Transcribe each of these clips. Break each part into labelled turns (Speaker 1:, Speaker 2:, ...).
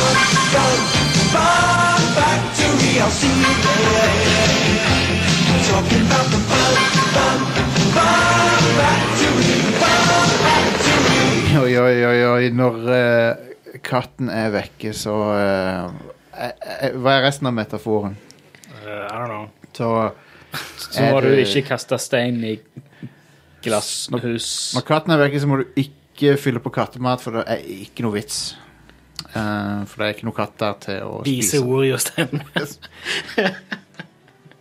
Speaker 1: Stockholm, Fun Factory, I'll see you there. Talking about the fun, fun, fun factory, fun factory.
Speaker 2: Oi, oi, oi, oi. Når eh, katten er vekke, så eh, eh, eh, Hva er resten av metaforen?
Speaker 3: Eh, I don't know.
Speaker 2: Så
Speaker 3: Så
Speaker 2: Er
Speaker 3: må du
Speaker 2: det-
Speaker 3: ikke kaste stein i glasshus.
Speaker 2: når katten er vekke, så må du ikke fylle på kattemat, for det er ikke noe vits. Eh, for det er ikke noe katt der til å
Speaker 3: Vise
Speaker 2: spise.
Speaker 3: ord, Jostein.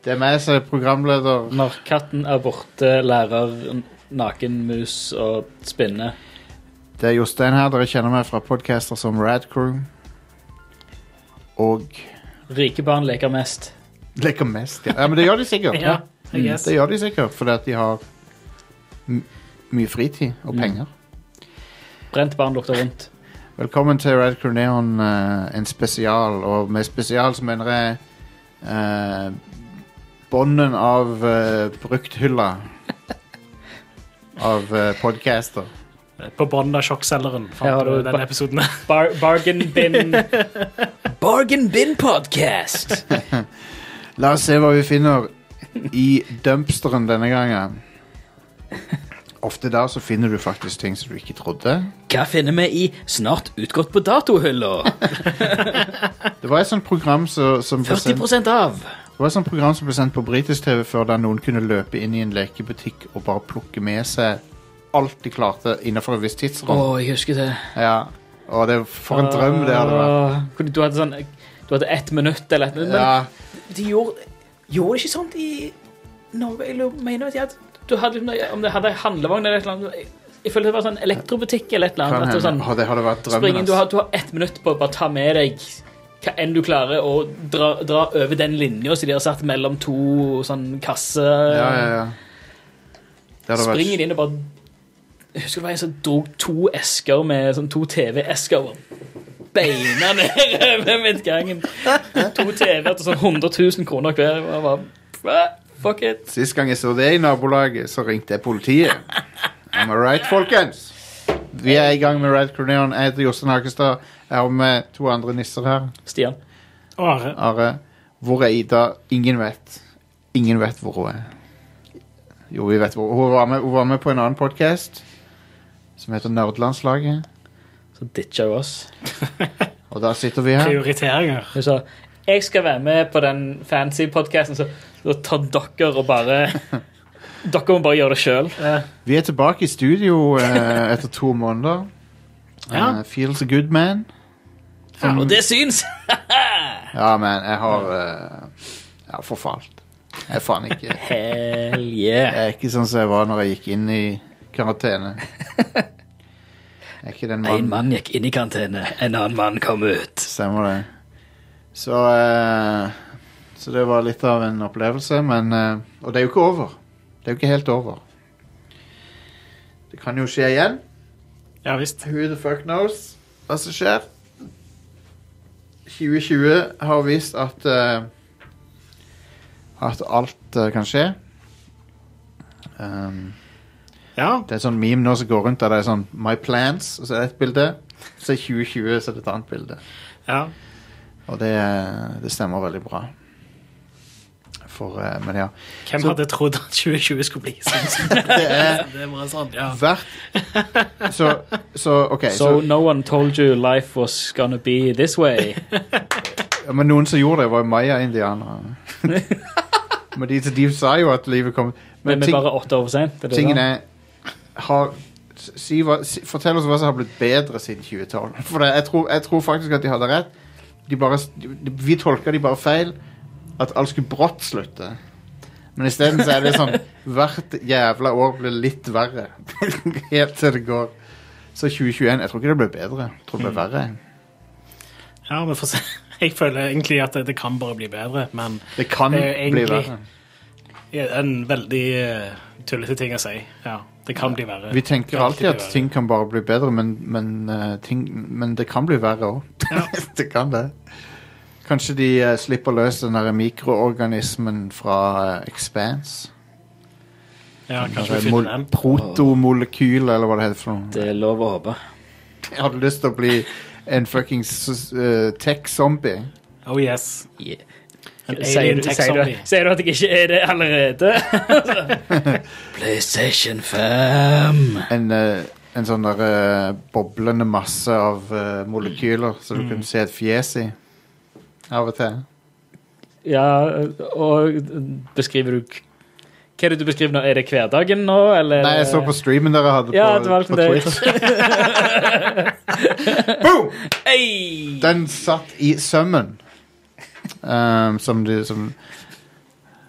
Speaker 2: Det er meg som er programleder.
Speaker 3: Når katten er borte, lærer nakenmus å spinne.
Speaker 2: Det er Jostein her. Dere kjenner meg fra podcaster som Radcrew. Og
Speaker 3: Rike barn leker mest.
Speaker 2: leker mest. Ja. ja, men det gjør de sikkert.
Speaker 4: Ja, I
Speaker 2: Mm,
Speaker 4: guess.
Speaker 2: Det gjør de sikkert, fordi at de har m mye fritid og
Speaker 3: Mm.
Speaker 2: penger.
Speaker 3: Brent barn lukter vondt.
Speaker 2: Velkommen til Red Crew Neon, eh, en spesial. Og med spesial så mener jeg eh, bånden av eh, brukthylla av eh, podcaster.
Speaker 4: På bunnen av sjokkselgeren fant
Speaker 3: Her har
Speaker 4: du
Speaker 3: du
Speaker 4: den
Speaker 3: ba-
Speaker 4: episoden.
Speaker 3: Bar bargain bin.
Speaker 4: Bargain Bin Podcast!
Speaker 2: La oss se hva vi finner i dumpsteren denne gangen. Ofte der så finner du faktisk ting som du ikke trodde.
Speaker 4: Hva finner vi i Snart utgått på datohylla?
Speaker 2: Det var et sånt program som, som ble sendt-
Speaker 4: av!
Speaker 2: Det var et sånt program som ble sendt på britisk TV før der noen kunne løpe inn i en lekebutikk og bare plukke med seg alt de klarte innenfor et visst
Speaker 4: Å,
Speaker 2: tidsrom.
Speaker 4: jeg husker det.
Speaker 2: Ja. Og det for en drøm det hadde vært.
Speaker 3: Åh, kunne- Du hadde sånn Du hadde ett minutt eller et minutt. Men
Speaker 2: Ja,
Speaker 4: De gjorde, gjorde det ikke sånt i Norge? Jeg lurer- mener at de hadde
Speaker 3: du hadde, liksom- om det hadde handlevogn eller et eller annet jeg- Jeg følte det var sånn elektrobutikk eller et eller
Speaker 2: kan
Speaker 3: annet. At det
Speaker 2: hende.
Speaker 3: var sånn,
Speaker 2: Å, det hadde vært
Speaker 3: spring inn,
Speaker 2: drømmen. altså.
Speaker 3: du, har,
Speaker 2: ass.
Speaker 3: du har ett minutt på å bare ta med deg hva enn du klarer, og dra, dra over den linja som de har satt mellom to sånn kasse...
Speaker 2: Ja, ja, ja. Det hadde
Speaker 3: Spring
Speaker 2: vært
Speaker 3: inn og bare Jeg husker det var en som dro to esker med sånn to TV-esker og beina nedover midtgangen. To TV-er til sånn 100 000 kroner hver. Og jeg bare, "Hva? Fuck it.
Speaker 2: Sist gang jeg så det i nabolaget, så ringte jeg politiet. Am I right, folkens? Vi er i gang med Red Corneon. Jeg heter Jostein Hakestad. Jeg har med to andre nisser her.
Speaker 3: Stian.
Speaker 4: Og Are.
Speaker 2: Are, hvor er Ida? Ingen vet. Ingen vet hvor hun er. Jo, vi vet hvor. Hun var med, hun var med på en annen podkast som heter Nerdlandslaget.
Speaker 3: Så ditcha hun oss.
Speaker 2: Og der sitter vi her.
Speaker 4: Prioriteringer.
Speaker 3: Hun sa jeg skal være med på den fancy podkasten, så da tar dere og bare Dere må bare gjøre det sjøl.
Speaker 2: Vi er tilbake i studio eh, etter to måneder.
Speaker 4: Ja.
Speaker 2: Eh, feels good, man.
Speaker 3: Ja, og det syns!
Speaker 2: Ja, men jeg har eh, Jeg har forfalt. Jeg er faen ikke Jeg
Speaker 3: Hell yeah.
Speaker 2: er ikke sånn som jeg var når jeg gikk inn i karantene. Jeg er ikke den
Speaker 4: En
Speaker 2: mannen.
Speaker 4: mann gikk inn i karantene, en annen mann kom ut.
Speaker 2: Stemmer det. Så eh, Så det var litt av en opplevelse, men eh, Og det er jo ikke over. Det er jo ikke helt over. Det kan jo skje igjen.
Speaker 4: Ja visst.
Speaker 2: Who the fuck knows hva som skjer? 2020 har vist at eh, At alt eh, kan skje. Um,
Speaker 4: Ja.
Speaker 2: det er sånn meme nå som går rundt der det er sånn My plans, og så er det et bilde. Så er 2020, så er det et annet bilde.
Speaker 4: ja.
Speaker 2: Og det, det stemmer veldig bra. For, eh, men ja.
Speaker 4: Hvem hadde trodd at 2020 skulle bli sånn?
Speaker 2: Det er
Speaker 4: Det var sånn, ja.
Speaker 2: hvert Så, så OK. Så,
Speaker 3: So no one told you life was gonna be this way.
Speaker 2: ja, men noen som gjorde det, var jo maya-indianere. men de, de sa jo at livet kom Men
Speaker 3: Men vi er
Speaker 2: ting,
Speaker 3: bare åtte år for sent. det er det
Speaker 2: tingen
Speaker 3: da.
Speaker 2: er har, si hva, si, Fortell oss hva som har blitt bedre siden 2012. For det, jeg, tror, jeg tror faktisk at de hadde rett. De bare, de, vi tolka de bare feil. At alt skulle brått slutte. Men isteden så er det sånn hvert jævla år blir litt verre. Helt til det går. Så 2021 Jeg tror ikke det ble bedre. Jeg tror det ble verre.
Speaker 4: Ja, vi får se. Jeg føler egentlig at det- det kan bare bli bedre, men
Speaker 2: Det kan
Speaker 4: Det er jo
Speaker 2: bli
Speaker 4: egentlig-
Speaker 2: verre.
Speaker 4: det er en veldig eh, tullete ting å si. Ja, det kan bli verre.
Speaker 2: Vi tenker
Speaker 4: Kan
Speaker 2: alltid
Speaker 4: alltid
Speaker 2: at
Speaker 4: bli verre.
Speaker 2: ting kan bare bli bedre, men, men, eh, ting, men det kan bli verre òg. det kan det. Kanskje de eh, slipper løs den der mikroorganismen fra eh, Expanse.
Speaker 4: Ja, kanskje
Speaker 2: Den
Speaker 4: vi finner
Speaker 2: mol-
Speaker 4: den.
Speaker 2: Protomolekyl, eller hva det heter. for noe.
Speaker 3: Det er lov å håpe.
Speaker 2: Jeg hadde lyst til å bli en fuckings eh, tech-zombie.
Speaker 4: Oh yes.
Speaker 3: Yeah.
Speaker 4: En
Speaker 3: Sier,
Speaker 4: alien
Speaker 3: du,
Speaker 4: tech
Speaker 3: sier, du,
Speaker 4: zombie.
Speaker 3: sier du at jeg ikke er det allerede? PlayStation 5.
Speaker 2: En, eh, en sånn der eh, boblende masse av eh, molekyler som
Speaker 4: Mm.
Speaker 2: du kunne se et fjes i av og til.
Speaker 3: Ja, og beskriver du Hva er det du beskriver nå? Er det hverdagen nå, eller?
Speaker 2: Nei, jeg så på streamen dere hadde
Speaker 3: ja, det
Speaker 2: på,
Speaker 3: var liksom
Speaker 2: på
Speaker 3: det. liksom.
Speaker 2: Twitch. Boom!
Speaker 3: Ei!
Speaker 2: Den satt i sømmen. Um, som du som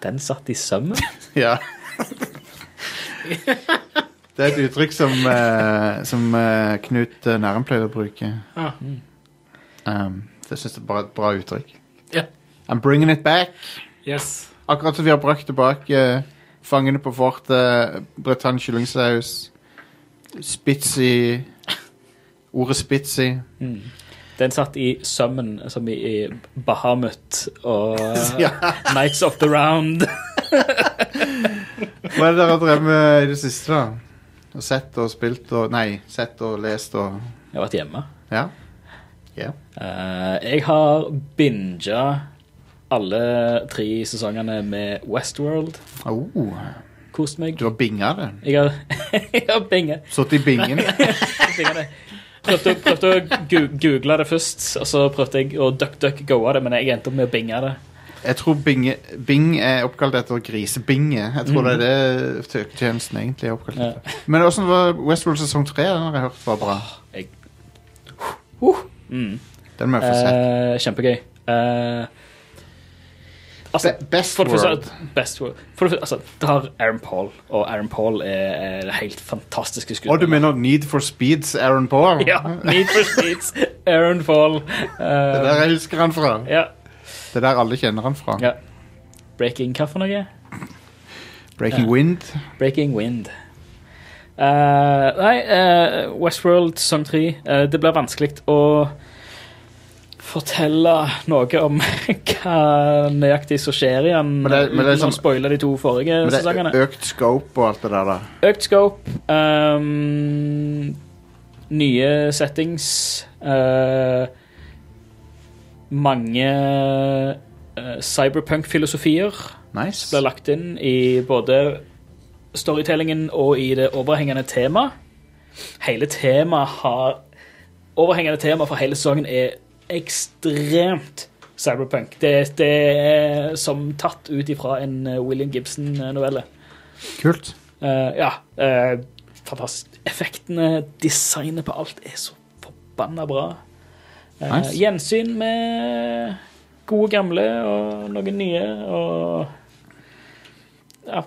Speaker 3: Den satt i sømmen.
Speaker 2: Ja. Det er et uttrykk som, eh, som eh, Knut eh, Nærum pleier å bruke.
Speaker 4: Ah.
Speaker 2: Um, det syns jeg bare er et bra uttrykk.
Speaker 4: Ja.
Speaker 2: I'm bringing it back.
Speaker 4: Yes.
Speaker 2: Akkurat som vi har brakt tilbake eh, fangene på fortet, Bretagne kyllingsaus, Spitzy Ordet Spitzy.
Speaker 3: Den satt i sømmen, som i i Bahamut og
Speaker 2: Ja.
Speaker 3: Nights of the Round.
Speaker 2: Hva er det dere har drevet med i det siste, da? Og sett og spilt og Nei, sett og lest og
Speaker 3: Jeg har vært hjemme.
Speaker 2: Ja. Ja.
Speaker 3: Eh, jeg har binga alle tre sesongene med Westworld.
Speaker 2: Oh,
Speaker 3: Kost meg.
Speaker 2: du har binga det.
Speaker 3: Jeg har, jeg har binga.
Speaker 2: Sittet i bingen.
Speaker 3: binga det. Prøvde, å- prøvde å gu- google det først, og så prøvde jeg å duck-duck-goe det, men jeg endte opp med å binge det.
Speaker 2: Jeg tror binge, Bing er oppkalt etter grisebinge. Jeg tror det er det søketjenesten egentlig er oppkalt
Speaker 3: Ja.
Speaker 2: etter. Men åssen var Westworld sesong tre? Den har jeg hørt var bra.
Speaker 3: Jeg- Uh, mm.
Speaker 2: Den må jeg få sett.
Speaker 3: Eh, kjempegøy. Eh, altså,
Speaker 2: Be- Best
Speaker 3: for det første,
Speaker 2: World.
Speaker 3: Best World. For det første, altså, det har Aaron Paul, og Aaron Paul er, er helt fantastiske
Speaker 2: Og du
Speaker 3: skuespillere.
Speaker 2: mener Need for Speeds Aaron Paul?
Speaker 3: Ja. Need for Speeds, Aaron Paul. eh,
Speaker 2: Det der jeg husker han fra.
Speaker 3: ja,
Speaker 2: Det der alle kjenner han fra.
Speaker 3: Ja. Breaking hva for noe?
Speaker 2: Breaking Wind.
Speaker 3: Breaking Wind. Eh, nei, eh, Westworld sesong tre. Eh, det blir vanskelig å fortelle noe om hva nøyaktig som skjer i den,
Speaker 2: Men det- men det er
Speaker 3: uten
Speaker 2: sånn-
Speaker 3: å spoile de to forrige
Speaker 2: Men det
Speaker 3: sesongene.
Speaker 2: er økt scope og alt det der. da.
Speaker 3: Økt scope, ehm, nye settings, eh, mange eh, cyberpunk-filosofier
Speaker 2: Nice.
Speaker 3: ble lagt inn i både storytellingen og i det overhengende temaet. Hele temaet har Overhengende tema for hele sesongen er ekstremt cyberpunk. Det, det er som tatt ut ifra en eh, William Gibson-novelle.
Speaker 2: Kult.
Speaker 3: Eh, ja. eh, fantastisk. Effektene, designet på alt er så forbanna bra. Eh,
Speaker 2: Nice.
Speaker 3: Gjensyn med gode gamle og noen nye og Ja.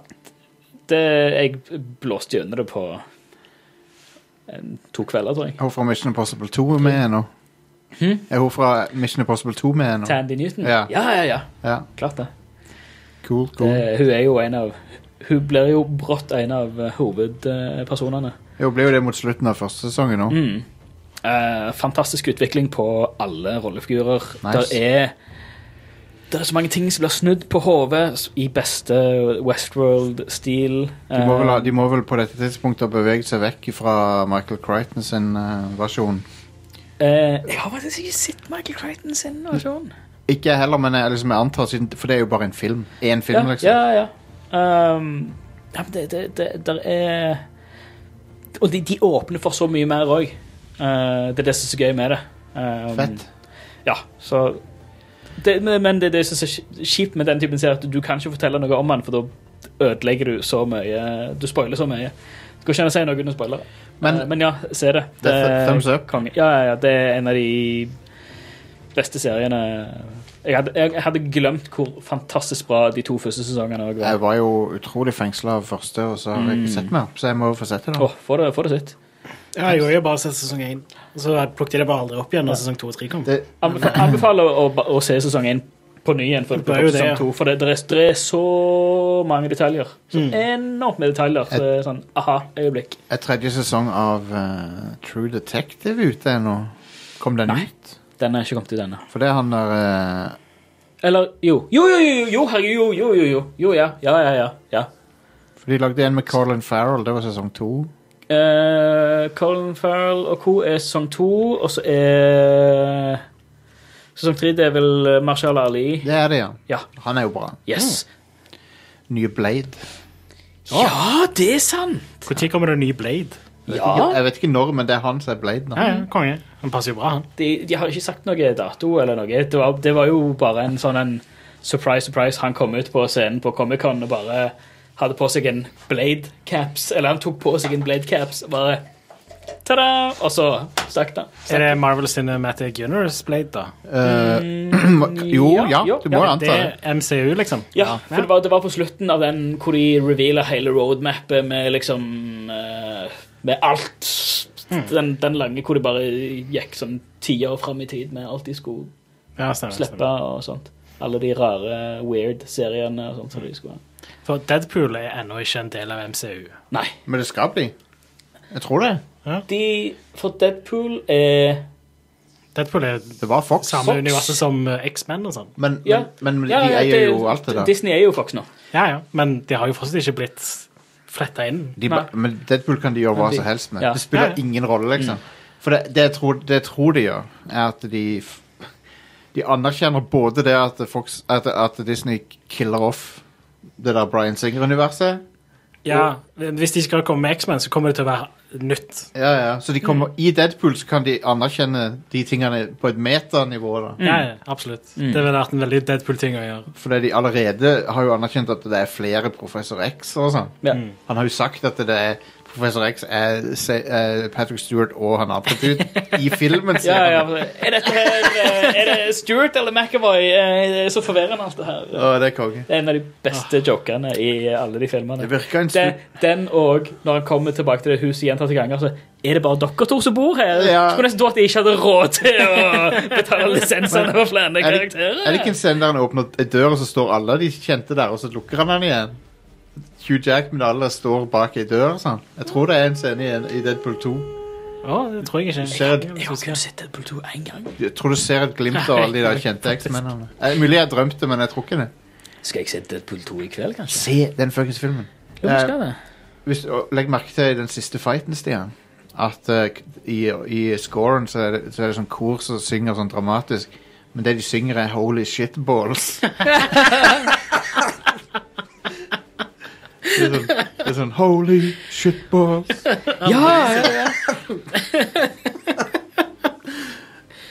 Speaker 3: Det, jeg blåste gjennom det på en, to kvelder, tror jeg.
Speaker 2: Er hun fra Mission Impossible 2 med ennå?
Speaker 3: Hm?
Speaker 2: Er hun fra Mission Impossible 2 med ennå?
Speaker 3: Tandy Newton?
Speaker 2: Ja.
Speaker 3: ja, ja. ja.
Speaker 2: Ja.
Speaker 3: Klart det.
Speaker 2: Cool, cool.
Speaker 3: det. Hun er jo en av Hun blir jo brått en av eh, hovedpersonene.
Speaker 2: Jo, ble jo det mot slutten av første sesongen nå.
Speaker 3: Mm. Eh, fantastisk utvikling på alle rollefigurer.
Speaker 2: Nice.
Speaker 3: Der er det er så mange ting som blir snudd på hodet s- i beste Westworld-stil.
Speaker 2: De må, vel ha,
Speaker 3: Eh,
Speaker 2: de må vel på dette tidspunktet ha beveget seg vekk fra Michael Crichton sin eh, versjon.
Speaker 3: eh, jeg har faktisk ikke sett Michael Crichton sin versjon.
Speaker 2: Mm. Ikke jeg heller, men jeg, liksom, jeg antar siden For det er jo bare en film. Én film,
Speaker 3: ja,
Speaker 2: liksom.
Speaker 3: Ja, ja. Ehm, ja men det, det, det der er Og de, de åpner for så mye mer òg. det er det som er så gøy med det. Ehm,
Speaker 2: Fett.
Speaker 3: Ja, så det, men- Men det, det som er så kjipt med den typen serier, at du kan ikke fortelle noe om den, for da ødelegger du så mye Du spoiler så mye. Det går ikke an å si noe uten å spoile.
Speaker 2: Men-
Speaker 3: Men, men ja, se det.
Speaker 2: Det er th- thumbs up.
Speaker 3: konge. Ja, ja, ja, det er en av de beste seriene Jeg hadde, jeg hadde glemt hvor fantastisk bra de to første sesongene også var.
Speaker 2: Jeg var jo utrolig fengsla av første, og så har jeg ikke sett mer. Så jeg må jo få sett det, da.
Speaker 3: Mm. Åh, få det, få det sitt.
Speaker 4: Ja, jeg har jo bare sett sesong én. Og Så plukket jeg det bare aldri opp igjen når sesong to og tre kom.
Speaker 2: Det,
Speaker 3: Anbef- Anbefaler å, å, å se sesong én på ny igjen, for,
Speaker 4: Det er jo det, ja.
Speaker 3: sesong to, for det, det, er, det er så mange detaljer. Så
Speaker 4: Mm.
Speaker 3: Enormt med detaljer. Så det er sånn aha, øyeblikk.
Speaker 2: er tredje sesong av eh, True Detective ute ennå? Kom den
Speaker 3: Nei.
Speaker 2: ut?
Speaker 3: Den er ikke kommet ut ennå.
Speaker 2: For det er han der eh,
Speaker 3: Eller jo. Jo, jo, jo, jo, herregud, jo, jo, jo, jo. Jo, ja. Ja, ja, ja. ja.
Speaker 2: For de lagde en med Colin Farrell, det var sesong to.
Speaker 3: Eh, Colin Farrell og co. er sesong to, og så er Sesong tre det er vel Marshall Ali.
Speaker 2: Det er det, ja.
Speaker 3: Ja. Mm.
Speaker 2: Han er jo bra.
Speaker 3: Yes.
Speaker 2: Nye Blade.
Speaker 3: Ja, det er sant!
Speaker 4: Når kommer det en ny Blade?
Speaker 3: Ja,
Speaker 2: Jeg vet ikke når, men det er han som er Blade nå.
Speaker 4: Ja,
Speaker 3: Mm.
Speaker 4: ja, konge. Han passer jo bra, han.
Speaker 3: De, de har ikke sagt noe dato eller noe. Det var, det var jo bare en sånn en surprise, surprise. Han kom ut på scenen på Comic-Con og bare hadde på seg en blade caps. Eller han tok på seg en blade caps og bare Ta-da! Og så stakk han.
Speaker 4: Er det Marvel Cinematic Universe Blade, da?
Speaker 2: Eh, jo, ja.
Speaker 3: Mm, Ja,
Speaker 2: Du må jo
Speaker 3: ja,
Speaker 2: anta
Speaker 4: Det
Speaker 2: det.
Speaker 4: er MCU, liksom?
Speaker 3: Ja, for det var, det var på slutten av den hvor de revealer hele roadmappet med liksom eh, Med alt. Den, den lange hvor de bare gikk sånn tiår fram i tid med alt de skulle
Speaker 4: Ja, stemmer,
Speaker 3: slippe
Speaker 4: stemmer.
Speaker 3: og sånt. Alle de rare weird seriene og sånt som de skulle ha.
Speaker 4: For Deadpool er ennå ikke en del av MCU.
Speaker 3: Nei.
Speaker 2: Men det skal bli. Jeg tror det.
Speaker 3: De For Deadpool eh, er
Speaker 4: Deadpool er
Speaker 2: Det var Fox.
Speaker 4: samme
Speaker 3: Fox.
Speaker 4: universet som eh, X-Men og sånn.
Speaker 2: Men,
Speaker 3: Ja.
Speaker 2: men, men de
Speaker 3: Ja, ja,
Speaker 2: eier jo alt det der.
Speaker 3: Disney er jo Fox nå.
Speaker 4: Ja, ja. Men de har jo fortsatt ikke blitt fletta inn.
Speaker 2: De, ba- men Deadpool kan de gjøre hva
Speaker 3: de-
Speaker 2: som helst med.
Speaker 3: ja. Mm.
Speaker 2: Det spiller
Speaker 4: Ja, ja.
Speaker 2: ingen rolle, liksom. For det, det, jeg tror, det jeg tror de gjør, er at de f- De anerkjenner både det at, Fox, at, at Disney killer off det der Bryan Singer-universet.
Speaker 4: Ja, Hvis de skal komme med X-Men, så kommer det til å være nytt.
Speaker 2: Ja, ja. Så de kommer,
Speaker 3: Mm.
Speaker 2: i Deadpool så kan de anerkjenne de tingene på et metanivå. da.
Speaker 3: Mm.
Speaker 4: Ja, ja, absolutt. Det ville vært en veldig Deadpool-ting å gjøre.
Speaker 2: Fordi de allerede har jo anerkjent at det er flere Professor X og sånn.
Speaker 3: Ja.
Speaker 2: Han har jo sagt at det er Professor X er se- eh, Patrick Stewart og han andre dude i filmen. sier
Speaker 3: Ja,
Speaker 2: han.
Speaker 3: ja, er dette her eh, Er det Stuart eller McAvoy? Eh, Det er så forvirrende, alt det her.
Speaker 2: Å, det er konge.
Speaker 3: Det er en av de beste jokene i alle de filmene.
Speaker 2: Ah. Det virker en
Speaker 3: Den,
Speaker 2: stund
Speaker 3: den og når han kommer tilbake til det huset gjentatte ganger, så er det bare dere to som bor her.
Speaker 2: Ja.
Speaker 3: Skulle nesten tro at de ikke hadde råd til å betale lisensene for
Speaker 2: er det,
Speaker 3: flere
Speaker 2: er det ikke en
Speaker 3: karakterer.
Speaker 2: scene der han åpner ei dør, og så står alle de kjente der, og så lukker han den igjen? Hugh Jackman og alle står bak ei dør. Sånn. Jeg tror det er en scene i, i Deadpool 2.
Speaker 4: Å, det tror jeg ikke.
Speaker 2: Ser-
Speaker 3: Jeg har kun sett Deadpool 2 én gang.
Speaker 2: Jeg tror du ser et glimt av alle de der kjente X-mennene. Eh, Mulig jeg drømte, men jeg tror ikke det.
Speaker 3: Skal jeg se Deadpool 2 i kveld, kanskje?
Speaker 2: Se den fuckings filmen.
Speaker 3: Jo, vi skal det.
Speaker 2: Hvis, og legg merke til i den siste fighten, Stian, at eh, i, i scoren så er, det, så er det sånn kor som synger sånn dramatisk, men det de synger er 'Holy Shitballs'. det, er sånn, det er sånn 'Holy Shitballs'.
Speaker 3: Ja, ja, ja.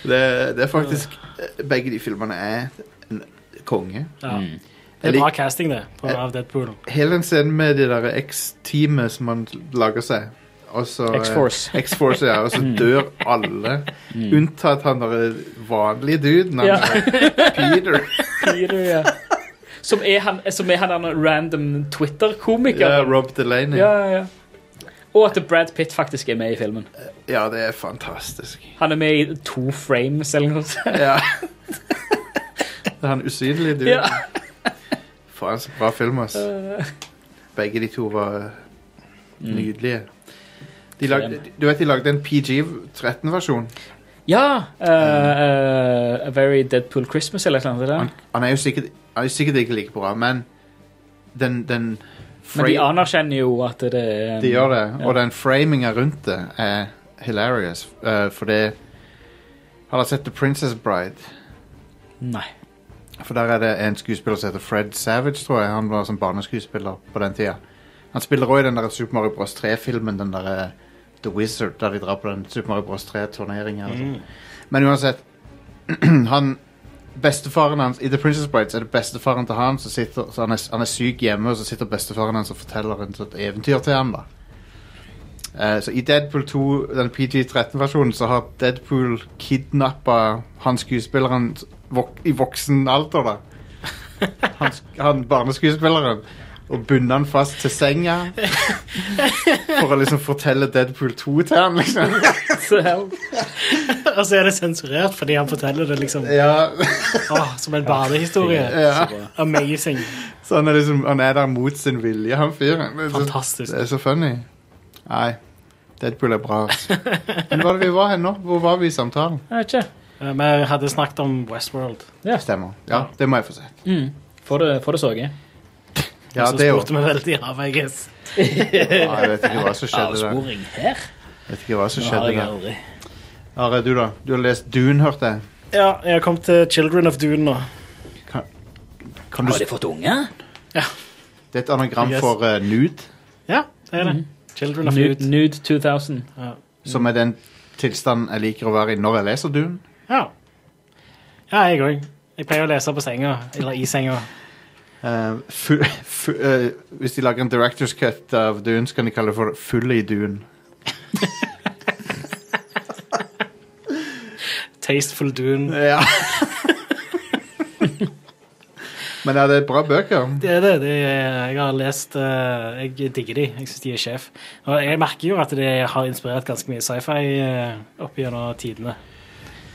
Speaker 2: Det, det er faktisk eh, Begge de filmene er en konge.
Speaker 4: Ja.
Speaker 2: Jeg
Speaker 4: Det er
Speaker 2: lik-
Speaker 4: bra casting, det, på, av Deadpool.
Speaker 2: Hele den scenen med det der X-teamet som han lager seg. og så, eh,
Speaker 3: X-Force. Mm.
Speaker 2: X-Force, ja. Og så dør alle. Unntatt han derre vanlige duden. Han
Speaker 3: Ja.
Speaker 2: der Peter.
Speaker 3: Peter, ja. Som er han, som er han der random
Speaker 2: Ja,
Speaker 3: Twitter-komikeren.
Speaker 2: Rob Delaney.
Speaker 3: Ja,
Speaker 2: Ja.
Speaker 3: ja, ja. Og at Brad Pitt faktisk er med i filmen.
Speaker 2: det er fantastisk.
Speaker 3: Han er med i to frames eller noe sånt.
Speaker 2: Ja. Det er han usynlige duden.
Speaker 3: Ja.
Speaker 2: Faen, så bra film, ass. Begge de to var eh,
Speaker 3: Mm.
Speaker 2: nydelige. De lagde, du vet de lagde en PG-13-versjon?
Speaker 3: Ja! eh, eh, A Very Deadpool Christmas eller noe sånt.
Speaker 2: Han,
Speaker 3: eller?
Speaker 2: han er jo sikkert, han er jo sikkert ikke like bra, men den, den
Speaker 3: Men de
Speaker 2: fra-
Speaker 3: anerkjenner jo at det er um, en-
Speaker 2: de gjør det, og
Speaker 3: Ja.
Speaker 2: den framinga rundt det er hilarious, eh, for det Har dere sett The Princess Bride?
Speaker 3: Nei.
Speaker 2: For der er det en skuespiller som heter Fred Savage, tror jeg. Han var som barneskuespiller på den tida. Han spiller òg i den der Super Mario Bros. 3-filmen, den der eh, The Wizard, der de drar på den Super Mario Bros. 3-turneringa. Men uansett han, Bestefaren hans i The Princess Bride så er det bestefaren til han som sitter så han, er, han er syk hjemme, og så sitter bestefaren hans og forteller en sånn eventyr til ham. da Eh, Så i Deadpool 2, den PG-13-versjonen, så har Deadpool kidnappa han skuespilleren vok i voksen alder, da. Han, sk- han barneskuespilleren. Og bundet han fast til senga for å liksom fortelle Deadpool 2 til han, liksom.
Speaker 3: Så hell.
Speaker 4: Og så Altså, er det sensurert fordi han forteller det liksom
Speaker 2: Ja,
Speaker 4: åh, som en badehistorie.
Speaker 2: ja.
Speaker 4: Amazing.
Speaker 2: Så han er liksom Han er der mot sin vilje, han fyren. Det er så-
Speaker 4: Fantastisk.
Speaker 2: Det er så funny. Nei, Deadpool er bra. Altså. Men hva var det vi var hen nå? Hvor var vi i samtalen?
Speaker 3: Jeg vet ikke.
Speaker 4: Eh, Vi hadde snakket om Westworld.
Speaker 2: Stemmer. Ja, det må jeg få se.
Speaker 3: Mm. Få det, få det så jeg.
Speaker 2: Ja,
Speaker 4: så
Speaker 2: det jo.
Speaker 4: spurte vi veldig av, jeg guess.
Speaker 2: Ja, jeg vet ikke hva som skjedde der.
Speaker 3: Avsporing her?
Speaker 2: Jeg vet ikke hva som
Speaker 3: Det har
Speaker 2: skjedde
Speaker 3: jeg
Speaker 2: der.
Speaker 3: aldri.
Speaker 2: Are, du da? Du har lest Dune, hørte jeg.
Speaker 4: Ja, jeg har kommet til Children of Dune nå.
Speaker 2: Kan, kan du,
Speaker 3: Har de fått unger?
Speaker 2: det er et anagram
Speaker 4: Yes.
Speaker 2: for eh, nude,
Speaker 4: Ja, det er det.
Speaker 2: Mhm.
Speaker 4: Children of
Speaker 3: Nude,
Speaker 4: Dune.
Speaker 3: nude 2000.
Speaker 2: som er den tilstanden jeg liker å være i når jeg leser Dune.
Speaker 4: Ja. ja, jeg òg. Jeg pleier å lese på senga, eller i senga.
Speaker 2: Eh, fu, fu, eh, hvis de lager en director's cut av Dune, så kan de kalle det for Fulle i Dune.
Speaker 4: Tasteful Dune.
Speaker 2: Ja. Men er det er bra bøker?
Speaker 4: Det er det. det er, jeg har lest eh, Jeg digger de. Jeg syns de er sjef. Og jeg merker jo at det har inspirert ganske mye sci-fi eh, opp gjennom tidene.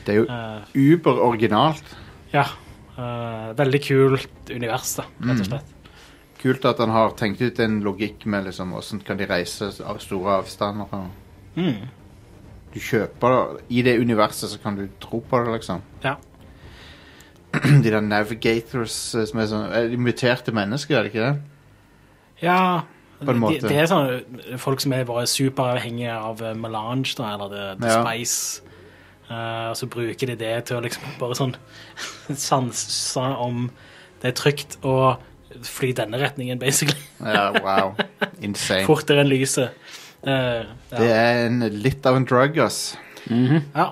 Speaker 2: Det er jo
Speaker 4: Eh,
Speaker 2: uber-originalt.
Speaker 4: ja. eh, veldig kult univers, da,
Speaker 2: Mm.
Speaker 4: rett og slett.
Speaker 2: Kult at han har tenkt ut en logikk med liksom, hvordan kan de reise av store avstander. Og
Speaker 4: Mm.
Speaker 2: du kjøper det. I det universet så kan du tro på det, liksom.
Speaker 4: Ja.
Speaker 2: De der navigators eh, som er sånn er de muterte mennesker, er det ikke det?
Speaker 4: ja
Speaker 2: På en måte.
Speaker 4: Det, det er sånne folk som er bare superavhengige av eh, melange da, eller det, det
Speaker 2: Ja.
Speaker 4: spice. Eh, og så bruker de det til å liksom bare sånn sanse om det er trygt å fly denne retningen, basically.
Speaker 2: Ja, wow. Insane.
Speaker 4: Fortere enn lyset. Eh,
Speaker 2: Det
Speaker 4: ja.
Speaker 2: er en, litt av en drug, ass. Mhm.
Speaker 4: ja.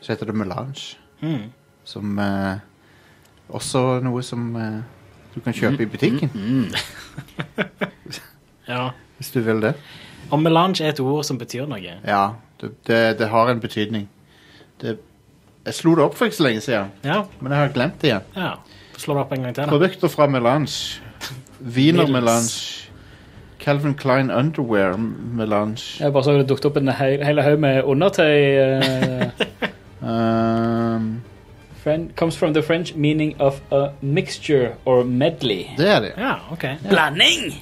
Speaker 2: Så heter det melange.
Speaker 4: Mm.
Speaker 2: Som eh, også noe som eh, du kan kjøpe i butikken.
Speaker 4: ja.
Speaker 2: Hvis du vil det.
Speaker 4: Og melange er et ord som betyr noe.
Speaker 2: Ja, det, det, det har en betydning. Det, jeg slo det opp for ikke så lenge siden,
Speaker 4: Ja.
Speaker 2: men jeg har glemt det igjen.
Speaker 4: ja. Slå det opp en gang til. da.
Speaker 2: Produkter fra melange. Wiener
Speaker 4: Middels.
Speaker 2: melange. Calvin Klein underwear melange.
Speaker 3: Jeg bare så det dukket opp en hel, hel haug med undertøy. eh,
Speaker 2: Um,
Speaker 3: friend, comes from the French meaning of a mixture or medley.
Speaker 2: det er det.
Speaker 4: Ja, OK.
Speaker 3: Blanding!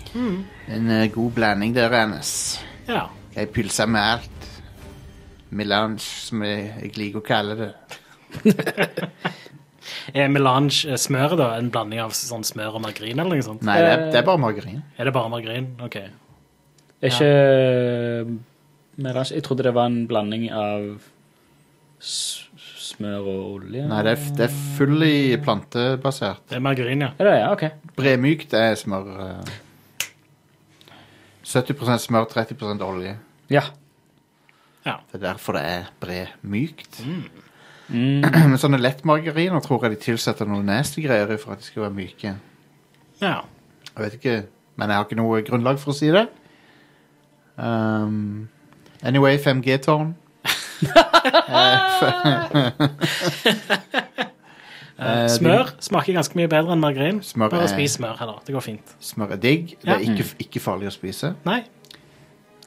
Speaker 2: En eh, god blanding der, Anders.
Speaker 4: Ja.
Speaker 2: Jeg pylser med alt. Melange, som jeg, jeg liker å kalle det.
Speaker 4: Er melange eh, smør, da? En blanding av sånn smør og margarin, eller noe sånt?
Speaker 2: Nei, det er, det er bare margarin.
Speaker 4: Er det bare margarin? OK.
Speaker 3: Er ikke melange Jeg trodde det var en blanding av s- smør og olje.
Speaker 2: Nei, det er, f- det er full i plantebasert.
Speaker 4: Det er margarin, ja.
Speaker 3: Er det, ja, ok.
Speaker 2: Bremykt er smør. eh, 70 smør, 30 olje.
Speaker 3: Ja.
Speaker 2: Det er derfor det er bremykt.
Speaker 3: Mm.
Speaker 2: Men sånne lettmargariner tror jeg de tilsetter noe nasty greier i for at de skal være myke.
Speaker 4: ja.
Speaker 2: Jeg vet ikke, men jeg har ikke noe grunnlag for å si det. Um, anyway, 5G-tårn.
Speaker 4: Eh, smør smaker ganske mye bedre enn margarin.
Speaker 2: Smør er-
Speaker 4: Bare spis smør heller. Det går fint.
Speaker 2: Smør er digg. Det er
Speaker 4: Ja.
Speaker 2: ikke, ikke farlig å spise.
Speaker 4: Nei.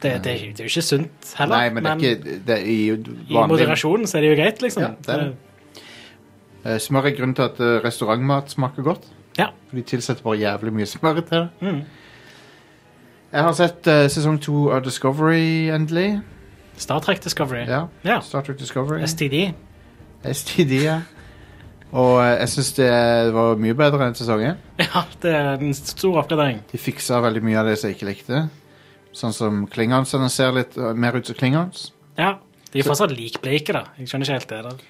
Speaker 4: Det, det, er jo- det er jo ikke sunt heller,
Speaker 2: Nei, men det er ikke det er i
Speaker 4: i
Speaker 2: vanlig
Speaker 4: moderasjonen så er det jo greit, liksom.
Speaker 2: Ja, det er det. Eh, Smør er grunnen til at eh, restaurantmat smaker godt.
Speaker 4: Ja.
Speaker 2: For de tilsetter bare jævlig mye smør til det.
Speaker 4: Mm.
Speaker 2: Jeg har sett eh, sesong to av Discovery endelig.
Speaker 4: Star Trek Discovery.
Speaker 2: Ja.
Speaker 4: Ja.
Speaker 2: Star Trek Discovery.
Speaker 4: STD.
Speaker 2: STD, ja. Og eh, jeg syns det var mye bedre enn sesongen.
Speaker 4: Ja, det er en stor oppgradering.
Speaker 2: De fiksa veldig mye av det som jeg ikke likte. Sånn som klingonsene ser litt eh, mer ut som klingons.
Speaker 4: Ja, De er fortsatt likbleike, da. Jeg skjønner ikke helt det. der.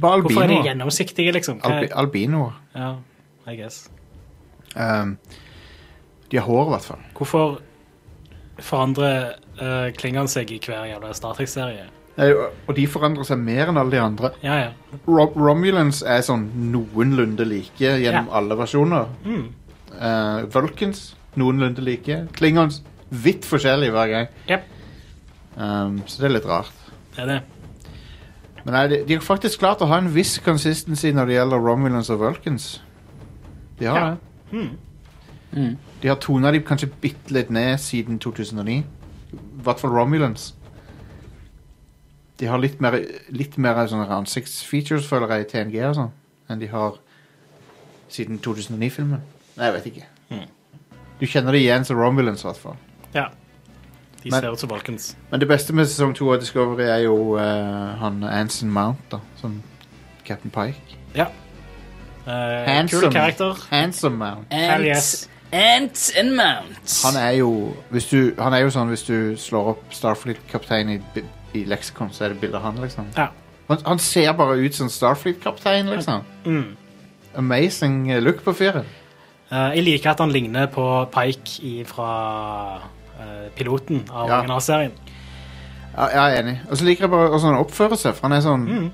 Speaker 2: Bare
Speaker 4: Hvorfor er de
Speaker 2: albinoer.
Speaker 4: gjennomsiktige, liksom? Hva-
Speaker 2: Albi albinoer.
Speaker 4: Ja, I guess.
Speaker 2: Um, de har hår, i hvert fall.
Speaker 4: Hvorfor forandrer uh, klingene seg i hver jævla Star Trek-serie?
Speaker 2: Eh, og- Og de forandrer seg mer enn alle de andre.
Speaker 4: Ja, ja.
Speaker 2: Rom Romulans er sånn noenlunde like gjennom
Speaker 4: Ja.
Speaker 2: alle versjoner.
Speaker 4: Mm.
Speaker 2: Eh, Vulcans noenlunde like. Klingons vidt forskjellig hver gang.
Speaker 4: Jep.
Speaker 2: Um, så det er litt rart.
Speaker 4: Det er det.
Speaker 2: Men nei, de, de har faktisk klart å ha en viss consistency når det gjelder Romulans og Vulcans. De har
Speaker 4: Ja.
Speaker 2: det.
Speaker 4: Mm.
Speaker 3: Mm.
Speaker 2: De har tona de kanskje bitte litt ned siden 2009. I hvert fall Romulans. De har litt mer, litt mer sånne ansiktsfeatures, føler jeg, i TNG og sånn, enn de har siden 2009-filmen. Nei, jeg vet ikke.
Speaker 4: Mm.
Speaker 2: Du kjenner det igjen som Romulans, i hvert fall.
Speaker 4: Ja. De
Speaker 2: Men-
Speaker 4: ser ut som Volkens.
Speaker 2: Men det beste med sesong to av Discovery er jo eh, han Anson Mount, da, som Captain Pike.
Speaker 4: Ja. Eh,
Speaker 2: Handsome.
Speaker 4: kul karakter.
Speaker 2: Handsome Mount.
Speaker 4: Hell yes.
Speaker 3: Ants and Mounts.
Speaker 2: Han er jo, hvis du, han er jo sånn hvis du slår opp Starfleet-kaptein i, bi- i leksikon, så er det bilde av han, liksom.
Speaker 4: Ja.
Speaker 2: Han, han ser bare ut som Starfleet-kaptein, liksom.
Speaker 4: Mm.
Speaker 2: Amazing eh, look på fyren.
Speaker 4: Eh, jeg liker at han ligner på Pike i, fra eh, piloten av
Speaker 2: Ja.
Speaker 4: originalserien.
Speaker 2: Ja, jeg er enig. Og så liker jeg bare hvordan han oppfører seg, for han er sånn
Speaker 4: Mm.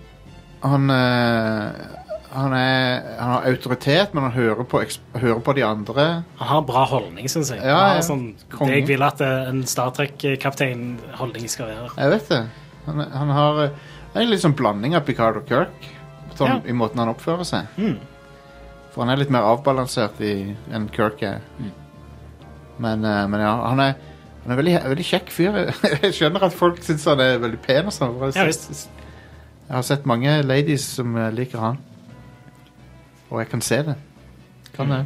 Speaker 2: han, eh, han, er, han har autoritet, men han hører på, eks- hører på de andre.
Speaker 4: Han har bra holdning, syns jeg.
Speaker 2: Ja,
Speaker 4: Han
Speaker 2: ja.
Speaker 4: har sånn,
Speaker 2: Konge.
Speaker 4: det jeg vil at eh, en Star Trek-kaptein-holdning skal være.
Speaker 2: Jeg vet det. Han, han har eh, det er en litt sånn blanding av Picard og Kirk sånn,
Speaker 4: Ja.
Speaker 2: i måten han oppfører seg.
Speaker 4: Mm.
Speaker 2: For han er litt mer avbalansert i, enn Kirk er.
Speaker 4: Mm.
Speaker 2: Men, eh, men ja, han er han er veldig, veldig kjekk fyr. Jeg skjønner at folk syns han er veldig pen. og sånn. for jeg
Speaker 4: Ja,
Speaker 2: har
Speaker 4: visst.
Speaker 2: sett- Jeg har sett mange ladies som eh, liker han. Og jeg kan se det. Kan det.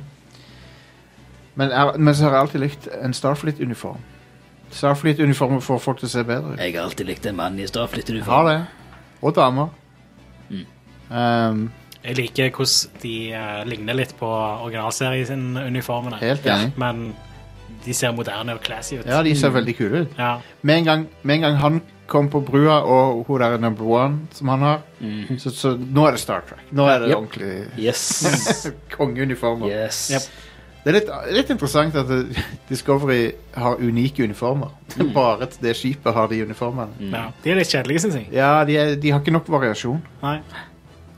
Speaker 2: Men, jeg, har- men så har jeg alltid likt en Starfleet-uniform. Starfleet-uniformer får folk til å se bedre ut.
Speaker 3: Jeg har alltid likt en mann i
Speaker 2: Jeg har
Speaker 3: Starflytteruniform.
Speaker 2: det. Og damer. Um,
Speaker 4: Jeg liker hvordan de eh, ligner litt på originalserien-uniformene.
Speaker 2: helt
Speaker 3: Ja.
Speaker 2: enig.
Speaker 4: Men de ser moderne og classy ut.
Speaker 2: Ja, de ser veldig kule ut.
Speaker 4: Ja.
Speaker 2: Med en gang, med en gang han kom på brua, og hun der number one som han har, så, så nå er det Star Trek. Nå er det
Speaker 3: Yep.
Speaker 2: ordentlig Mm.
Speaker 3: Yes.
Speaker 2: kongeuniformer.
Speaker 3: yes.
Speaker 4: Yep.
Speaker 2: Det er litt, litt interessant at eh, Discovery har unike uniformer. Bare at det skipet har de uniformene.
Speaker 4: Ja. De er litt kjedelige, syns jeg.
Speaker 2: Ja, de, er, de har ikke nok variasjon.
Speaker 4: Nei.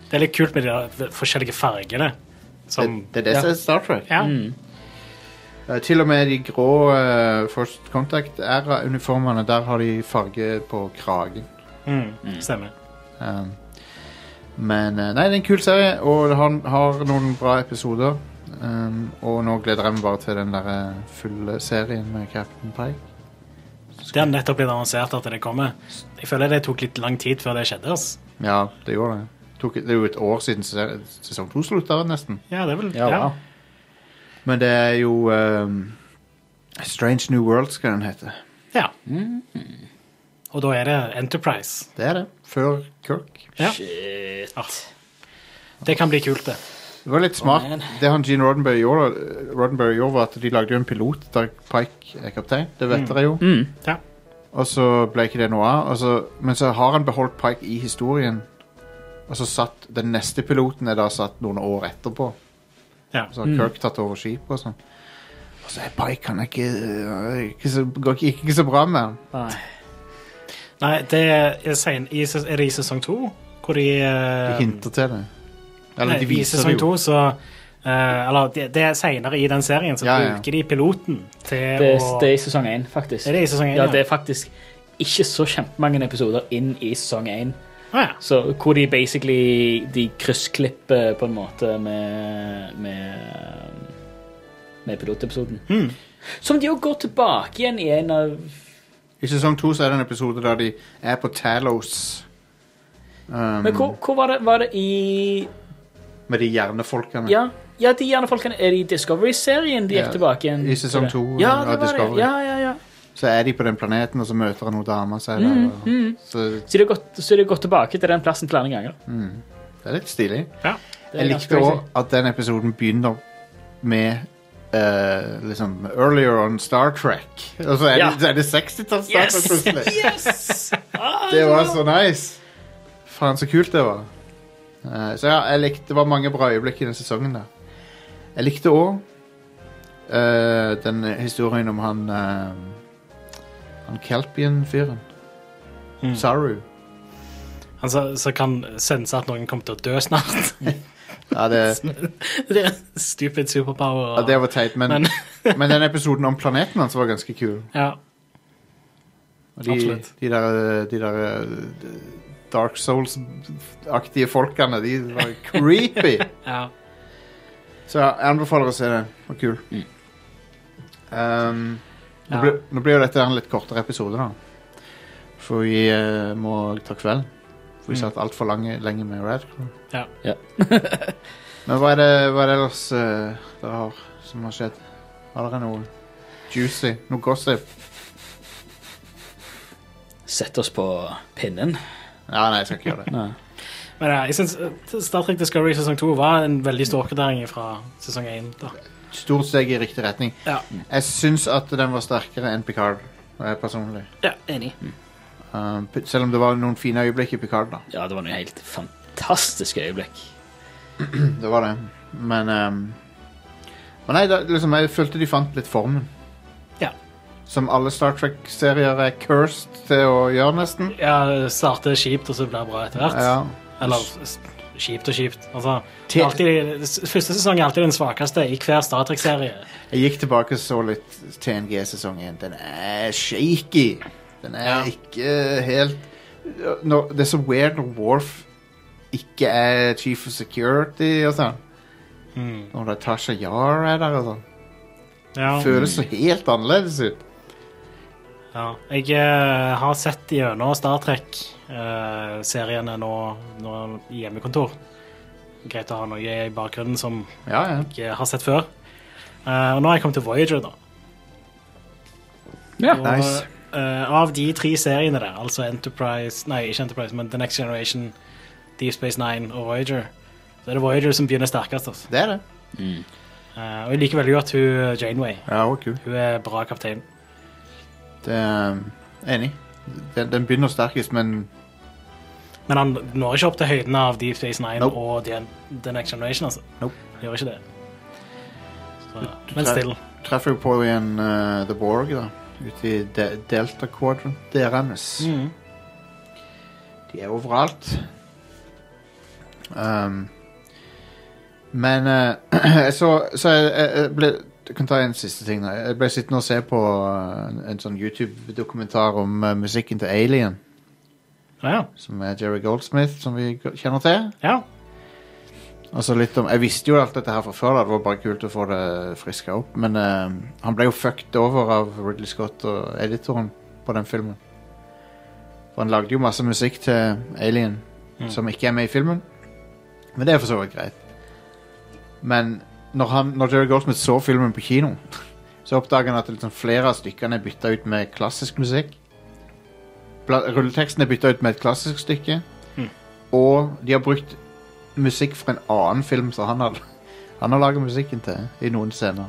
Speaker 4: Det er litt kult med de der forskjellige fargene.
Speaker 2: Det,
Speaker 4: Som,
Speaker 2: det er det som er Star Trek.
Speaker 4: ja.
Speaker 3: Mm.
Speaker 2: Eh, Til og med de grå eh, First Contact-uniformene, der har de farge på kragen.
Speaker 4: Mm. Stemmer.
Speaker 2: Um, men eh, nei, det er en kul serie, og han har noen bra episoder. Um, og nå gleder jeg meg bare til den der eh, fulle serien med Captain Pike.
Speaker 4: Det har nettopp blitt annonsert at det kommer. Jeg føler det tok litt lang tid før det skjedde. ass.
Speaker 2: Ja, det gjorde det. Tok, det er jo et år siden se- sesong to slutta, nesten.
Speaker 4: Ja, det er vel
Speaker 3: Ja,
Speaker 4: ja.
Speaker 3: wow.
Speaker 2: Men det er jo um, Strange New World skal den hete.
Speaker 4: ja. Mm. Og da er det Enterprise.
Speaker 2: Det er det. Før Kirk.
Speaker 4: Ja.
Speaker 3: Shit.
Speaker 4: Ah. Det kan bli kult, det.
Speaker 2: Det var litt smart.
Speaker 3: Å, man.
Speaker 2: det han Gene Roddenberry gjorde, Roddenberry gjorde, var at de lagde jo en pilot der Pike er kaptein. Det vet dere jo.
Speaker 3: Mm.
Speaker 4: Ja.
Speaker 2: Og så ble ikke det noe av. og så- Men så har han beholdt Pike i historien. Og så satt den neste piloten er da satt noen år etterpå.
Speaker 4: Ja.
Speaker 2: Så har Kirk tatt over skipet og sånn. Og så er Pike han er ikke, øh, ikke så, går ikke, gikk ikke så bra med han.
Speaker 4: Nei, det er, sen, i, ses- er det i sesong to hvor de,
Speaker 2: De
Speaker 4: eh,
Speaker 2: hinter til det. Eller
Speaker 4: nei,
Speaker 2: de viser det
Speaker 4: I sesong
Speaker 2: jo.
Speaker 4: to, så eh, Eller det, det er seinere i den serien, så
Speaker 2: Ja, ja.
Speaker 4: bruker de piloten til
Speaker 3: Det,
Speaker 4: å
Speaker 3: det er i sesong én, faktisk.
Speaker 4: Er det i sesong én?
Speaker 3: Ja, det er faktisk ikke så kjempemange episoder inn i sesong én.
Speaker 4: Ah, ja.
Speaker 3: Så hvor de basically De kryssklipper på en måte med Med, med pilotepisoden.
Speaker 2: Hmm.
Speaker 3: Som de jo går tilbake igjen i en av
Speaker 2: I sesong to så er det en episode der de er på Talos. Um,
Speaker 3: Men hvor, hvor var, det, var det i
Speaker 2: Med de hjernefolkene.
Speaker 3: Ja, ja de hjernefolkene Er det i Discovery-serien de
Speaker 2: Ja,
Speaker 3: gikk tilbake igjen?
Speaker 2: i sesong
Speaker 3: til det?
Speaker 2: to
Speaker 3: ja,
Speaker 2: av
Speaker 3: det var
Speaker 2: Discovery.
Speaker 3: Det. Ja, ja, ja.
Speaker 2: Så er de på den planeten, og så møter han noen damer. Så er det,
Speaker 4: Mm,
Speaker 2: og, så
Speaker 3: Så de har gått, så de har gått tilbake til den plassen flere ganger.
Speaker 2: det er litt stilig.
Speaker 4: ja.
Speaker 3: Det er
Speaker 2: Jeg
Speaker 3: ganske
Speaker 2: likte
Speaker 3: crazy.
Speaker 2: òg at den episoden begynner med eh, liksom Earlier on Star Trek. Og så er
Speaker 3: Ja.
Speaker 2: det, så er det 60-talls Star Trek
Speaker 3: Yes!
Speaker 2: plutselig.
Speaker 3: Yes! Ah,
Speaker 2: Det var så nice! Faen, så kult det var. Eh, så ja, jeg likte, det var mange bra øyeblikk i den sesongen der. Jeg likte òg den historien om han eh, Han Kelpian-fyren. Saru.
Speaker 4: Han så, så kan sense at noen kommer til å dø snart.
Speaker 2: Ja, det,
Speaker 4: det er en stupid superpower.
Speaker 2: ja, det var teit, men, men.
Speaker 4: Men-
Speaker 2: den episoden om planeten hans var ganske kul.
Speaker 4: ja.
Speaker 2: Og de,
Speaker 4: Absolutt.
Speaker 2: de der, de der eh, Dark Souls-aktige folkene, de var creepy.
Speaker 4: ja.
Speaker 2: Så jeg anbefaler å se det. Det var kul. Um, nå,
Speaker 4: Mm. Ja.
Speaker 2: blir, nå blir jo dette en litt kortere episode, da. For vi eh, må ta kveld. For vi
Speaker 4: Mm.
Speaker 2: satt altfor lenge med Radcrow.
Speaker 4: Ja.
Speaker 3: Ja.
Speaker 2: Men hva er det, hva er det ellers eh, dere har som har skjedd? Har dere noe juicy? Noe gossip?
Speaker 3: Sett oss på pinnen.
Speaker 2: Ja, nei, jeg skal ikke gjøre det.
Speaker 3: Ja.
Speaker 4: eh, Men ja, jeg syns Star Trek Discovery sesong to var en veldig stor oppgradering fra sesong én. da.
Speaker 2: stort steg i riktig retning.
Speaker 4: Ja.
Speaker 2: Jeg syns at den var sterkere enn Picard, eh, personlig.
Speaker 4: ja, enig.
Speaker 2: Um, p- selv om det var noen fine øyeblikk i Picard, da.
Speaker 3: Ja, det var noe helt fantastisk øyeblikk.
Speaker 2: Det var det. Men um, Men nei, da, liksom, jeg følte de fant litt formen.
Speaker 4: Ja.
Speaker 2: Som alle Star Trek-serier er cursed til å gjøre, nesten.
Speaker 4: Ja, starte kjipt, og så blir det bra etter hvert.
Speaker 2: Ja.
Speaker 4: Eller s- kjipt og kjipt. Altså, det
Speaker 2: Til-
Speaker 4: er alltid, s- første sesong er alltid den svakeste i hver Star Trek-serie.
Speaker 2: Jeg gikk tilbake og så litt TNG sesong 1. Den er shaky. Den er
Speaker 4: Ja.
Speaker 2: ikke helt når, Det er så weird når Worf ikke er chief of security og sånn.
Speaker 4: Mm.
Speaker 2: Når Natasha Yar er der og sånn.
Speaker 4: Ja.
Speaker 2: Føles så helt annerledes ut.
Speaker 4: Ja. Jeg eh, har sett gjennom Star Trek-seriene nå, nå i hjemmekontor. Greit å ha noe i bakgrunnen som
Speaker 2: Ja, ja.
Speaker 4: jeg har sett før. Eh, og nå har jeg kommet til Voyager, da.
Speaker 3: Ja.
Speaker 4: Og,
Speaker 2: Nice.
Speaker 4: eh, av de tre seriene der, altså Enterprise Nei, ikke Enterprise, men The Next Generation, Deep Space Nine og Voyager, så er det Voyager som begynner sterkest. Altså.
Speaker 2: Det er det.
Speaker 4: Eh, og jeg liker veldig godt hun eh, Janeway.
Speaker 2: Ja, og kul.
Speaker 4: Hun er bra kaptein.
Speaker 2: Det er um, Enig. Den, den begynner sterkest, men
Speaker 4: Men han når ikke opp til høyden av Deep Space Nine
Speaker 2: Nope.
Speaker 4: og The, The Next Generation, altså.
Speaker 2: Nope.
Speaker 4: Han gjør ikke det. Så,
Speaker 2: du
Speaker 4: men
Speaker 2: tar-
Speaker 4: still.
Speaker 2: treffer jo på igjen uh, The Borg, da. Ute i de Delta Quadrant. Deres.
Speaker 4: Mm.
Speaker 2: De er overalt. Um, men eh, jeg så, så jeg, jeg, jeg ble Jeg kan ta en siste ting. da. Jeg ble sittende og se på eh, en, en sånn YouTube-dokumentar om eh, musikken til Alien,
Speaker 4: Ja,
Speaker 2: som er Jerry Goldsmith, som vi g- kjenner til.
Speaker 4: ja.
Speaker 2: Altså litt om, Jeg visste jo alt dette her fra før, da. det var bare kult å få det friska opp. Men eh, han ble jo fucked over av Ridley Scott og editoren på den filmen. For han lagde jo masse musikk til Alien
Speaker 4: Mm.
Speaker 2: som ikke er med i filmen. Men det er for så vidt greit. Men når, han, når Jerry Goldsmith så filmen på kino, så oppdager han at liksom flere av stykkene er bytta ut med klassisk musikk. Bla, rulleteksten er bytta ut med et klassisk stykke.
Speaker 4: Mm.
Speaker 2: Og de har brukt musikk fra en annen film som han har, han har laga musikken til, i noen scener.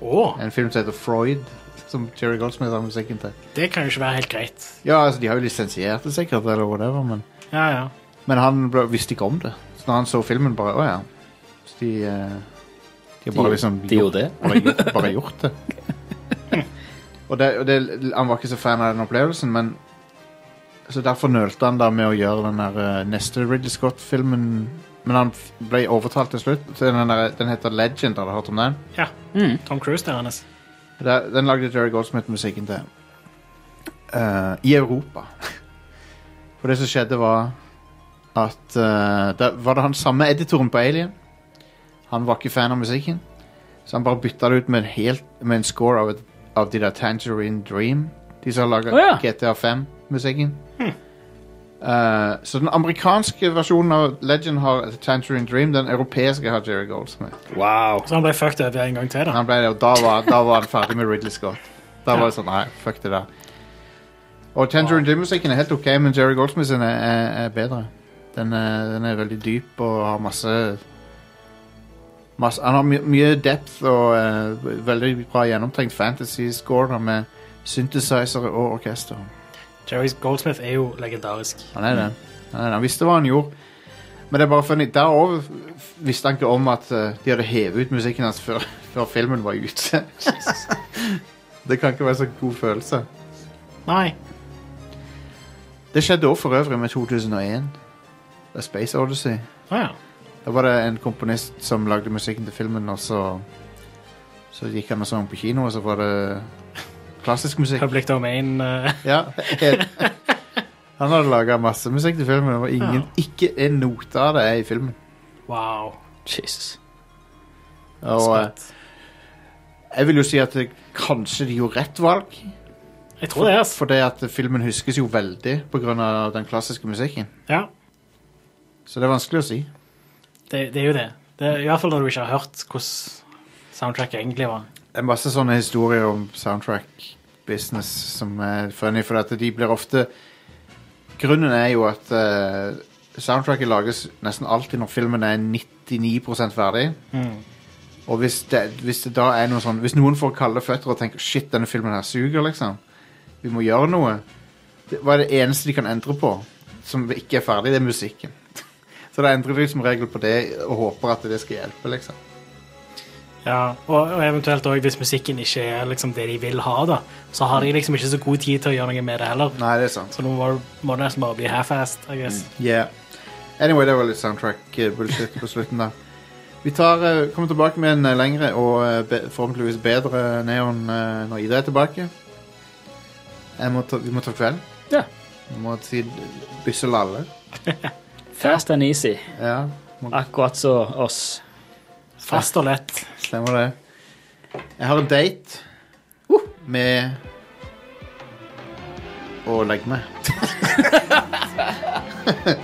Speaker 4: Å,
Speaker 2: En film som heter Freud, som Jerry Goldsmith har musikken til.
Speaker 4: det kan jo ikke være helt greit.
Speaker 2: Ja, altså, de har jo lisensiert det sikkert, eller whatever, men
Speaker 4: Ja, ja.
Speaker 2: men han ble, visste ikke om det. Så når han så filmen, bare Å ja. Så de, eh, de har bare liksom
Speaker 3: de gjorde det.
Speaker 2: Bare, gjort, bare gjort det. og det, og det, han var ikke så fan av den opplevelsen, men Så derfor nølte han da med å gjøre den der eh, neste Ridley Scott-filmen. Men han f- ble overtalt til slutt. til Den, der, den heter Legend, har du hørt om den?
Speaker 4: ja.
Speaker 3: Mm.
Speaker 4: Tom Cruise der, Hannes.
Speaker 2: Der, den lagde Jerry Goldsmith musikken til. Eh, I Europa. For det som skjedde, var at eh, Da var det han samme editoren på Alien. Han var ikke fan av musikken, så han bare bytta det ut med en, helt, med en score av, et, av de der Tangerine Dream. De som har laga
Speaker 3: Å ja. Hm.
Speaker 2: GTA5-musikken. Eh, så den amerikanske versjonen av Legend har Tangerine Dream. Den europeiske har Jerry Goldsmith.
Speaker 3: Wow.
Speaker 4: Så han ble fucked over en gang til, da.
Speaker 2: Han ble det, og da var, da var han ferdig med Ridley Scott. Da var det sånn, nei, fuck det der. Og Tangerine Dream-musikken er helt ok, men Jerry Goldsmith sin er, er, er bedre. Den er, den er veldig dyp og har masse, masse Han har my mye depth og eh, veldig bra gjennomtenkt fantasy-score da, med synthesizer og orkester.
Speaker 4: Jerry Goldsmith er jo legendarisk.
Speaker 2: Han er det. Han, er det. han visste hva han gjorde. Men det er bare funny. Der òg visste han ikke om at eh, de hadde hevet ut musikken hans før, før filmen var ute. det kan ikke være så god følelse.
Speaker 4: Nei.
Speaker 2: Det skjedde òg for øvrig med 2001. The Space Odyssey.
Speaker 4: Å ja.
Speaker 2: Da var det en komponist som lagde musikken til filmen, og så Så gikk han og så den på kino, og så var det klassisk musikk.
Speaker 4: Public Domain eh,
Speaker 2: Ja, helt. Han hadde laga masse musikk til filmen, og ingen, ikke en note av det er i filmen.
Speaker 4: Wow.
Speaker 3: Jesus.
Speaker 2: Og, eh,
Speaker 4: Spett.
Speaker 2: Jeg vil jo si at det, kanskje de gjorde rett valg.
Speaker 4: Jeg tror det, altså.
Speaker 2: For det at filmen huskes jo veldig pga. den klassiske musikken.
Speaker 4: Ja,
Speaker 2: Så det er vanskelig å si.
Speaker 4: det, det er jo det. det. er I hvert fall når du ikke har hørt hvordan soundtracket egentlig var.
Speaker 2: Det er masse sånne historier om soundtrack-business som er funny, for at de blir ofte Grunnen er jo at eh, Mm. soundtracket lages nesten alltid når filmen er 99 ferdig. Og hvis det, hvis det da er noe sånn Hvis noen får kalde føtter og tenker Shit, denne filmen her suger, liksom. Vi må gjøre noe. Det, hva er det eneste de kan endre på som ikke er ferdig? Det er musikken. Så da endrer de som regel på det og håper at det skal hjelpe, liksom.
Speaker 4: Ja, og, og eventuelt også hvis musikken ikke er liksom det de vil ha, da, så har de liksom ikke så god tid til å gjøre noe med det heller.
Speaker 2: Nei, det er sant.
Speaker 4: Så nå må, må det nesten bare bli half-assed, I guess.
Speaker 2: Yeah. Anyway, det var litt soundtrack-bullshit på slutten der. Vi tar, eh, kommer tilbake med en eh, lengre og eh, be, forhåpentligvis bedre neon eh, når Ida er tilbake. Jeg må ta, vi må ta kveld.
Speaker 3: Ja.
Speaker 2: Vi må si bysse lalle.
Speaker 3: Fast and easy.
Speaker 2: Ja, må,
Speaker 3: Akkurat så oss.
Speaker 4: Fast og lett.
Speaker 2: stemmer det. Jeg har en date med å legge meg.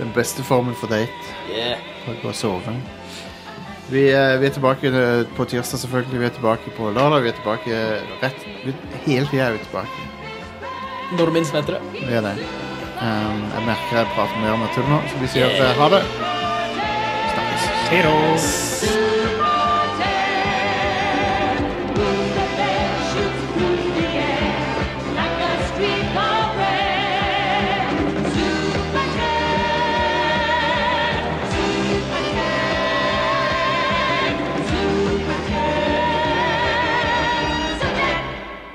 Speaker 2: Den beste formen for date.
Speaker 3: Yeah.
Speaker 2: Bare gå og sove. Vi, eh, vi er tilbake eh, på tirsdag, selvfølgelig. Vi er tilbake på lørdag. Vi er tilbake rett vi, Hele tida er vi tilbake.
Speaker 3: Når du minst venter det.
Speaker 2: Vi er det. Um, jeg merker jeg prater mer med tull nå, så vi sier eh, ha det. Snakkes.
Speaker 4: Hei då!
Speaker 5: Soon